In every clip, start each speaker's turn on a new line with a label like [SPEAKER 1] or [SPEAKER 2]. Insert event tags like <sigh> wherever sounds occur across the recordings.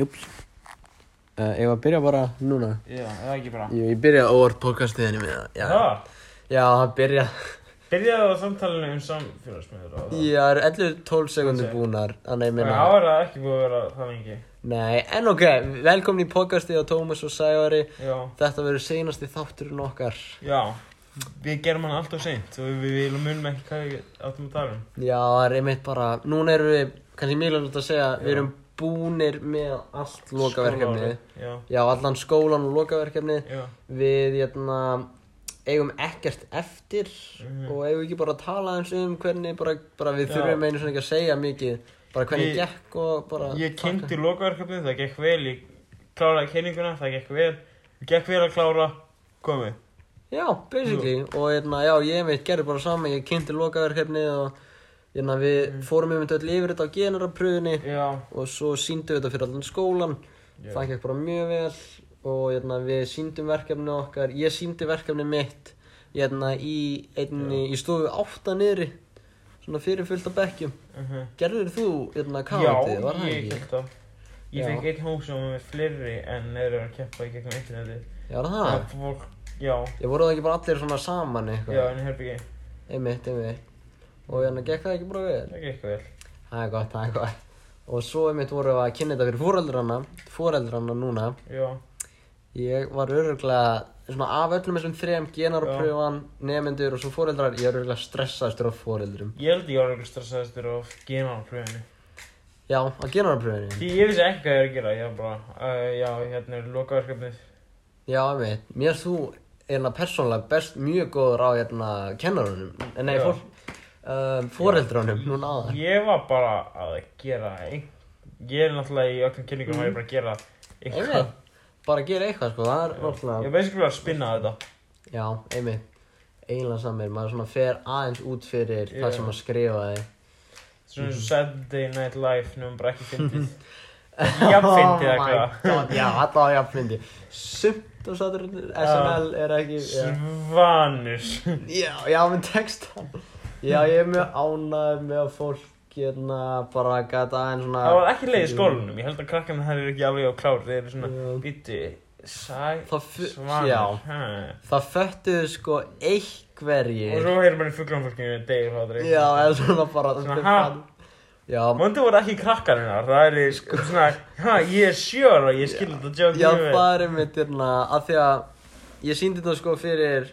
[SPEAKER 1] Júps uh, Ég var að byrja bara núna
[SPEAKER 2] Já, eða ekki bara.
[SPEAKER 1] Ég, ég byrja óvart podcastiðinni með það Já,
[SPEAKER 2] Það,
[SPEAKER 1] já það byrja
[SPEAKER 2] byrjaðu á samtalinu um samfélagsmiður og það.
[SPEAKER 1] Já, það eru 11-12 sekundir búnar Þannig ég
[SPEAKER 2] Það
[SPEAKER 1] minna
[SPEAKER 2] var það ekki búið að vera það lengi.
[SPEAKER 1] Nei, en ok, velkomin í podcastið á Tómas og Sævari
[SPEAKER 2] Já,
[SPEAKER 1] Þetta verður seinasti þátturinn okkar
[SPEAKER 2] já. Við gerum hann alltaf seint og við, við munum ekki hvað við áttum að tala um.
[SPEAKER 1] Já, það er einmitt bara Núna erum við, kannski mikilvægt að segja Við erum búnir með allt lokaverkefnið
[SPEAKER 2] Skólaárið, Já,
[SPEAKER 1] Já, allan skólan og lokaverkefnið
[SPEAKER 2] já.
[SPEAKER 1] við hérna, eigum ekkert eftir og eigum ekki bara að tala eins um hvernig bara, bara við
[SPEAKER 2] Mhm. Já.
[SPEAKER 1] þurfum einu svona ekki að segja mikið bara hvernig
[SPEAKER 2] Ég-
[SPEAKER 1] gekk og bara
[SPEAKER 2] Ég
[SPEAKER 1] taka-
[SPEAKER 2] kynnti lokaverkefnið, það gekk vel, ég kláraði kynninguna, það gekk vel. Ég gekk vel að klára, komið.
[SPEAKER 1] Já, basically og hérna, já, ég veit, gerði bara saman ég kynnti lokaverkefnið og hérna, við
[SPEAKER 2] Mhm.
[SPEAKER 1] fórum einmitt öll yfir þetta á generapröðinni
[SPEAKER 2] Já,
[SPEAKER 1] og svo síndum við þetta fyrir allan skólan
[SPEAKER 2] Já.
[SPEAKER 1] það gekk bara mjög vel og hérna, við síndum verkefnið okkar ég síndi verkefnið mitt hérna, í, einni, í stofu átta niðri svona fyrir fullt af bekkjum
[SPEAKER 2] mhm.
[SPEAKER 1] gerður þú hérna,
[SPEAKER 2] Já,
[SPEAKER 1] káðið, var það
[SPEAKER 2] ég
[SPEAKER 1] ekki?
[SPEAKER 2] held það Ég
[SPEAKER 1] Já.
[SPEAKER 2] fekk einn hóp sem var með fleiri en þeir eru að keppa í gegnum interneti
[SPEAKER 1] Já, var það?
[SPEAKER 2] Það fólk, já,
[SPEAKER 1] Ég voru það ekki bara allir svona saman
[SPEAKER 2] já,
[SPEAKER 1] eitthvað
[SPEAKER 2] en herbyggi
[SPEAKER 1] einmitt, einmitt og hérna gekk það ekki bara vel
[SPEAKER 2] Það er ekki vel
[SPEAKER 1] það er gott, það er gott og svo einmitt voru við að kynna þetta fyrir fóreldrana fóreldrana núna
[SPEAKER 2] Já,
[SPEAKER 1] Ég var öruglega, svona af öllum þessum þrejum genarpröfan, nefnendur og svo fóreldrar, ég var öruglega stressaðastur á fóreldrum.
[SPEAKER 2] ég held ég var eitthvað stressaðistur á genarpröfinu
[SPEAKER 1] Já, á genarpröfinu.
[SPEAKER 2] Því ég vissi ekki hvað ég er að gera, ég var bara uh, Já, hérna er lokaverkefnið
[SPEAKER 1] Já, einmitt. Mér erst þú, einna persónlega, best mjög góður á hérna kennarunum. En nei,
[SPEAKER 2] Já.
[SPEAKER 1] fór, uh, fóreldrunum, núna áðan.
[SPEAKER 2] Ég var bara að gera ein... Ég er náttúrulega í öllum kynningum var ég bara að gera eitthvað
[SPEAKER 1] Einmitt, bara gera eitthvað, sko, það er náttúrulega...
[SPEAKER 2] Ég er basically að spinna þetta
[SPEAKER 1] Já, einmitt. Eiginlega samir, maður svona fer aðeins út fyrir
[SPEAKER 2] Já.
[SPEAKER 1] það sem maður skrifaði. Mhm.
[SPEAKER 2] Svona eins og Saturday Night Live, nefnum bara ekki
[SPEAKER 1] <laughs>
[SPEAKER 2] fyndið Jafnfyndið
[SPEAKER 1] Oh my
[SPEAKER 2] eða hvað
[SPEAKER 1] god, Já, allavega jafnfindi Sumt og sattur SNL er ekki já. <laughs>
[SPEAKER 2] Svanus
[SPEAKER 1] Já, já, með texta Já, ég er mjög ánægð með að fólk hérna bara gata aðeins svona
[SPEAKER 2] Það var ekki leið í
[SPEAKER 1] Mm.
[SPEAKER 2] skólanum, ég held að krakkarna það eru ekki alveg á klár Þeir eru svona,
[SPEAKER 1] Já.
[SPEAKER 2] býttu, sæ,
[SPEAKER 1] Það fu- já.
[SPEAKER 2] svanur ha.
[SPEAKER 1] Það föttuðu sko
[SPEAKER 2] Og
[SPEAKER 1] einhverjir
[SPEAKER 2] svo heyrir maður í fugglumfólkinu degir hátri
[SPEAKER 1] Já, eða svona bara
[SPEAKER 2] Svona, ha?
[SPEAKER 1] Já,
[SPEAKER 2] Mondi voru ekki krakkarinnar, það eru svona, ha, ég er sjör og ég skil þetta joke
[SPEAKER 1] já,
[SPEAKER 2] mjög vel.
[SPEAKER 1] það er mitt hérna að því að ég síndi þetta sko fyrir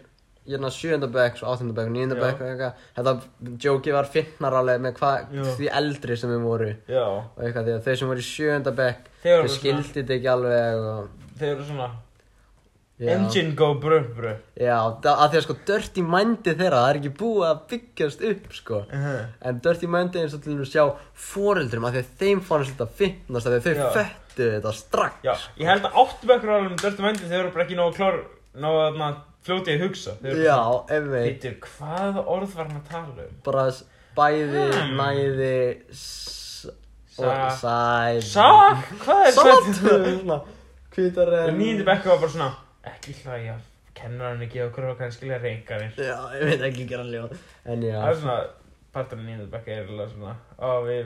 [SPEAKER 1] hérna 7. bekk, svo 8. bekk, 9.
[SPEAKER 2] Já.
[SPEAKER 1] bekk og eitthvað Þetta jóki var finnar alveg með hvað
[SPEAKER 2] Já.
[SPEAKER 1] því eldri sem við voru
[SPEAKER 2] Já,
[SPEAKER 1] og eitthvað því að þau sem voru í sjönda bekk
[SPEAKER 2] Þeir
[SPEAKER 1] þau
[SPEAKER 2] voru svona-
[SPEAKER 1] skildi þetta ekki alveg og,
[SPEAKER 2] þeir eru svona,
[SPEAKER 1] já,
[SPEAKER 2] engine go brö brö
[SPEAKER 1] já, það- að því að sko Dirty Mind'i þeirra, það er ekki búið að byggjast upp sko
[SPEAKER 2] Mhm.
[SPEAKER 1] en Dirty Mind'i eins og til að sjá foreldrum að því að þeim fannst þetta finnast að þau
[SPEAKER 2] Já.
[SPEAKER 1] föttu þetta strax
[SPEAKER 2] Já, ég held að áttu bekkur alveg um dörtu vendi þeir eru bara ekki nógu klár, nógu að maður fljótið hugsa Þeir eru
[SPEAKER 1] já
[SPEAKER 2] svona,
[SPEAKER 1] einmitt,
[SPEAKER 2] Býttu, hvað orð var hann að tala um?
[SPEAKER 1] bara s- bæði,
[SPEAKER 2] Hmm.
[SPEAKER 1] næði s- og
[SPEAKER 2] Sa-
[SPEAKER 1] sæð
[SPEAKER 2] Sá, hvað er þetta?
[SPEAKER 1] sátt hvítar er
[SPEAKER 2] Nýjandi bekku var bara svona Ekki hlæja, kennarinn ekki okkur og kannski lega reyngarnir
[SPEAKER 1] já, ég veit ekki ekki hann ljóð en já,
[SPEAKER 2] Það er svona, parturinn nýjandi bekku er alveg svona Ó, við,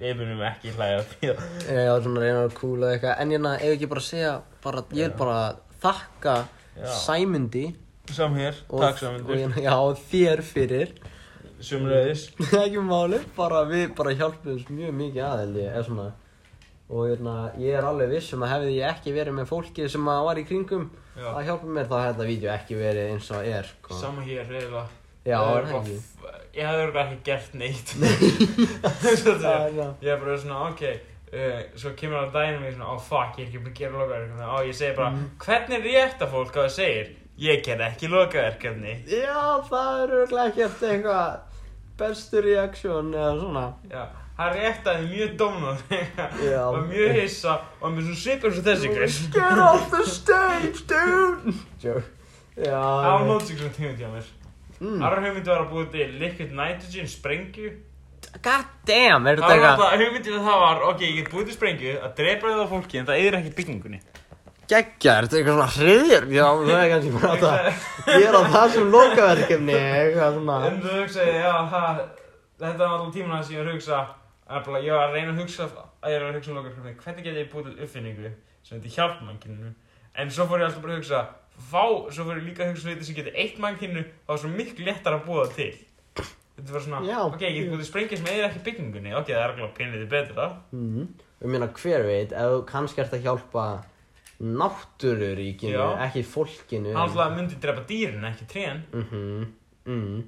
[SPEAKER 2] við munum ekki hlæja að því að
[SPEAKER 1] Ég var svona að reyna að kúla eða eitthvað En hérna, ef ekki bara að segja bara, Ég er bara að þakka
[SPEAKER 2] Já.
[SPEAKER 1] Sæmundi
[SPEAKER 2] Samhér,
[SPEAKER 1] og,
[SPEAKER 2] takk
[SPEAKER 1] og
[SPEAKER 2] samandur,
[SPEAKER 1] hérna, Já, og þér fyrir <laughs>
[SPEAKER 2] sumröðis
[SPEAKER 1] Ekki máli, bara við bara hjálpum mjög mikið að held ég eða svona. Og hérna, ég er alveg viss um að hefði ég ekki verið með fólki sem að var í kringum
[SPEAKER 2] Já.
[SPEAKER 1] að hjálpa mér þá hefði þetta vídeo ekki verið eins og er sko.
[SPEAKER 2] Sama hér, reyðilega
[SPEAKER 1] Já,
[SPEAKER 2] Ég
[SPEAKER 1] er
[SPEAKER 2] er
[SPEAKER 1] það
[SPEAKER 2] bara-
[SPEAKER 1] ekki
[SPEAKER 2] Ég hef verið ekki
[SPEAKER 1] <laughs>
[SPEAKER 2] gert neitt Svo þetta
[SPEAKER 1] Já,
[SPEAKER 2] er-
[SPEAKER 1] já.
[SPEAKER 2] Ég er bara svona, ok Uh, svo kemur það daginn og ég er svona, ó fuck, ég er ekki búin að gera lokaverkefni Ó, ég segi
[SPEAKER 1] Mhm.
[SPEAKER 2] bara, hvernig rétt að fólk á það segir Ég ger ekki lokaverkefni
[SPEAKER 1] Já, það er örugglega ekkert eitthvað bestu reaksjón eða svona
[SPEAKER 2] Já, hann réttaði mjög dómnar
[SPEAKER 1] Já.
[SPEAKER 2] <laughs> og mjög hissa og með svona svipur svo þessi gæs
[SPEAKER 1] Get off the um stage, dude! Joke.
[SPEAKER 2] Það var
[SPEAKER 1] Já,
[SPEAKER 2] nót sig svona tímund hjá mér
[SPEAKER 1] Mm.
[SPEAKER 2] Aðra hugmyndi var að búið til liquid nitrogen sprengju
[SPEAKER 1] god damn, er þetta
[SPEAKER 2] Það var
[SPEAKER 1] eitthvað
[SPEAKER 2] alltaf, hugmyndi við það var, ok, ég get búið til sprengju að drepa það á fólki en það yfir ekki byggingunni
[SPEAKER 1] geggja, er þetta eitthvað svona hriðjur? Já, það er kannski bara þetta. Ég er á það sem lokaverkefni, eitthvað svona.
[SPEAKER 2] Um En þú hugsaði, já, það, þetta var alltaf tímuna sem ég var að hugsa Það er bara, ég var að reyna að hugsa að ég er að hugsa um lokaverkefni, hvernig get ég búið til uppfinningu sem þetta hjálpa mannkyninu en svo fór ég alltaf bara að hugsa vá, svo fór ég líka að hugsa um þetta sem geti eitt mannkyninu þá er svo miklu léttar að búa það til þetta var svona,
[SPEAKER 1] Já,
[SPEAKER 2] ok, ég get búið til sprengja sem eðir ekki byggingunni, ok, það er alveg pinnið betra
[SPEAKER 1] Mhm. Ég meina hver veit, ef þú kannski ert að hjálpa náttúruríkinu,
[SPEAKER 2] Já.
[SPEAKER 1] ekki fólkinu.
[SPEAKER 2] hann alltaf myndi drepa dýrin, ekki trén
[SPEAKER 1] Mm mm.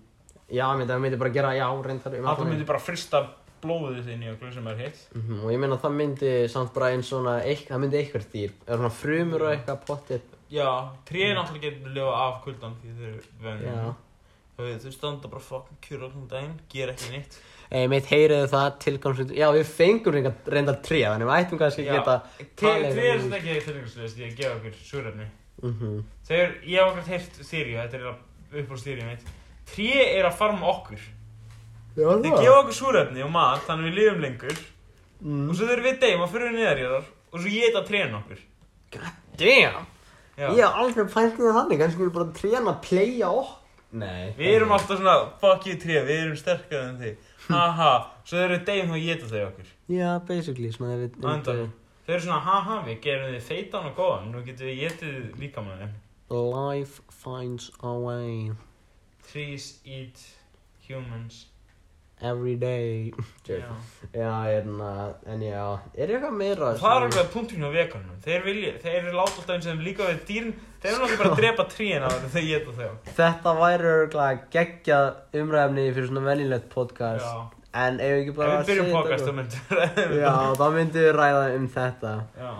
[SPEAKER 1] Já, ég myndi, það myndi bara gera, já, reyndar. um
[SPEAKER 2] alltaf
[SPEAKER 1] allan
[SPEAKER 2] myndi bara frista blóðið þinn í okkur sem er hitt
[SPEAKER 1] heim. Mhm, Og ég meina það myndi samt bara einn svona, eik, það myndi eitthvað dýr, eða svona frumur og eitthvað pottir.
[SPEAKER 2] já, trén alltaf getur lifa af kuldan því þau eru vönum
[SPEAKER 1] Já.
[SPEAKER 2] Þau standa bara fucking kjur allan daginn, gera ekki nýtt
[SPEAKER 1] Eða mitt heyriðu það tilgangslut, já við fengum reyngar, reyndar tré, þannig við ættum kannski að geta
[SPEAKER 2] Tré
[SPEAKER 1] um-
[SPEAKER 2] er svona ekki tilgangslega því að gefa okkur súrefni
[SPEAKER 1] Mhm.
[SPEAKER 2] Þau eru, ég hef okkur heyrt þýrju, þetta er upp á stýrjum mitt Tré er að farma okkur
[SPEAKER 1] Já,
[SPEAKER 2] Þau gefa okkur súrefni og mat, þannig við lifum lengur
[SPEAKER 1] Mm.
[SPEAKER 2] Og svo þau eru við deyjum og fyrir við neðar í þar Og svo geta trén okkur
[SPEAKER 1] Damn!
[SPEAKER 2] Já.
[SPEAKER 1] Ég hef aldrei pælt í það þannig, kannski við bara trén að playa okk. Nei.
[SPEAKER 2] Við erum alltaf svona, fuck you tré, við erum sterkar en þið Haha, svo þau eru við deyjum og geta þau okkur
[SPEAKER 1] Já, basically, svona ef við...
[SPEAKER 2] Á endanum. Þau eru svona, haha, við gerum þið feitan og góðan, nú getum við getið líkamanninn
[SPEAKER 1] Life finds a way
[SPEAKER 2] Trees eat humans
[SPEAKER 1] every day. <laughs> Joke.
[SPEAKER 2] Já.
[SPEAKER 1] Já, hérna, en já, er eitthvað meira...
[SPEAKER 2] Það er alveg punkturinn á veganum Þeir, vilja, þeir eru láta alltaf eins og þeim líka við dýrin Þeir eru náttúrulega bara að drepa tríin á þeim þegar ég geta þau
[SPEAKER 1] Þetta væri örgulega geggjað umræfni fyrir svona venjulegt podcast.
[SPEAKER 2] Já,
[SPEAKER 1] En ef við ekki
[SPEAKER 2] ef
[SPEAKER 1] bara...
[SPEAKER 2] við byrjum
[SPEAKER 1] segja þetta
[SPEAKER 2] podcast um þá
[SPEAKER 1] eitthvað-
[SPEAKER 2] myndur <laughs>
[SPEAKER 1] Já, þá myndum við ræða um þetta.
[SPEAKER 2] Já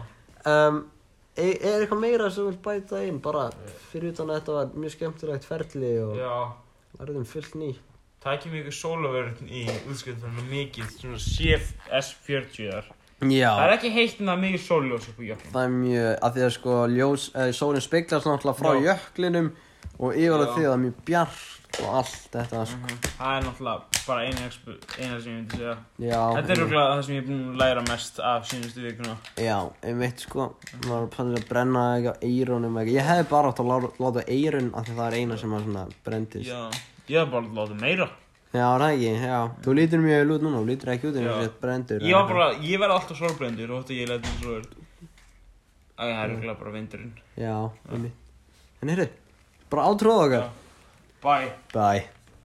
[SPEAKER 1] Um, er, er eitthvað meira sem við bæta inn, bara fyrir utan að þetta var mjög skemmtilegt ferli og
[SPEAKER 2] Já
[SPEAKER 1] verðum fullt ný.
[SPEAKER 2] Tækjum ykkur sólavörn í útskjöldfæðinu mikið Svona CFS40-ar
[SPEAKER 1] Já.
[SPEAKER 2] Það er ekki heitt en það er mikið sóljós upp í jökkum
[SPEAKER 1] Það er mjög, að því að sko ljós, eh, sólinn speglast náttúrulega frá
[SPEAKER 2] Já.
[SPEAKER 1] jöklinum og yfir að
[SPEAKER 2] Já.
[SPEAKER 1] því að það er mjög bjart og allt þetta sko.
[SPEAKER 2] Mhm. Það er náttúrulega bara eina, exp- eina sem ég myndi segja
[SPEAKER 1] Já,
[SPEAKER 2] Þetta er rúglega það sem ég er búin að læra mest af sínustu vikuna
[SPEAKER 1] já, ég veit sko, maður pannir að brenna eitthvað eirunum eitthvað. Ég hefði bara átt að láta, láta eirun af því að það er eina sem að svona brendist. Já,
[SPEAKER 2] Já Ég hef bara látið meira
[SPEAKER 1] er það ekki, já. Þú lítur mjög vel út núna, þú lítur ekki út en
[SPEAKER 2] Já.
[SPEAKER 1] þú sétt brendur.
[SPEAKER 2] Ég var bara, ég verði alltaf sorgblendur og þetta ég leti eins og er Æ, það er ekki bara vindurinn
[SPEAKER 1] Já, einmitt. En heyrðu, bara átrúð okkar.
[SPEAKER 2] Bye
[SPEAKER 1] Bye.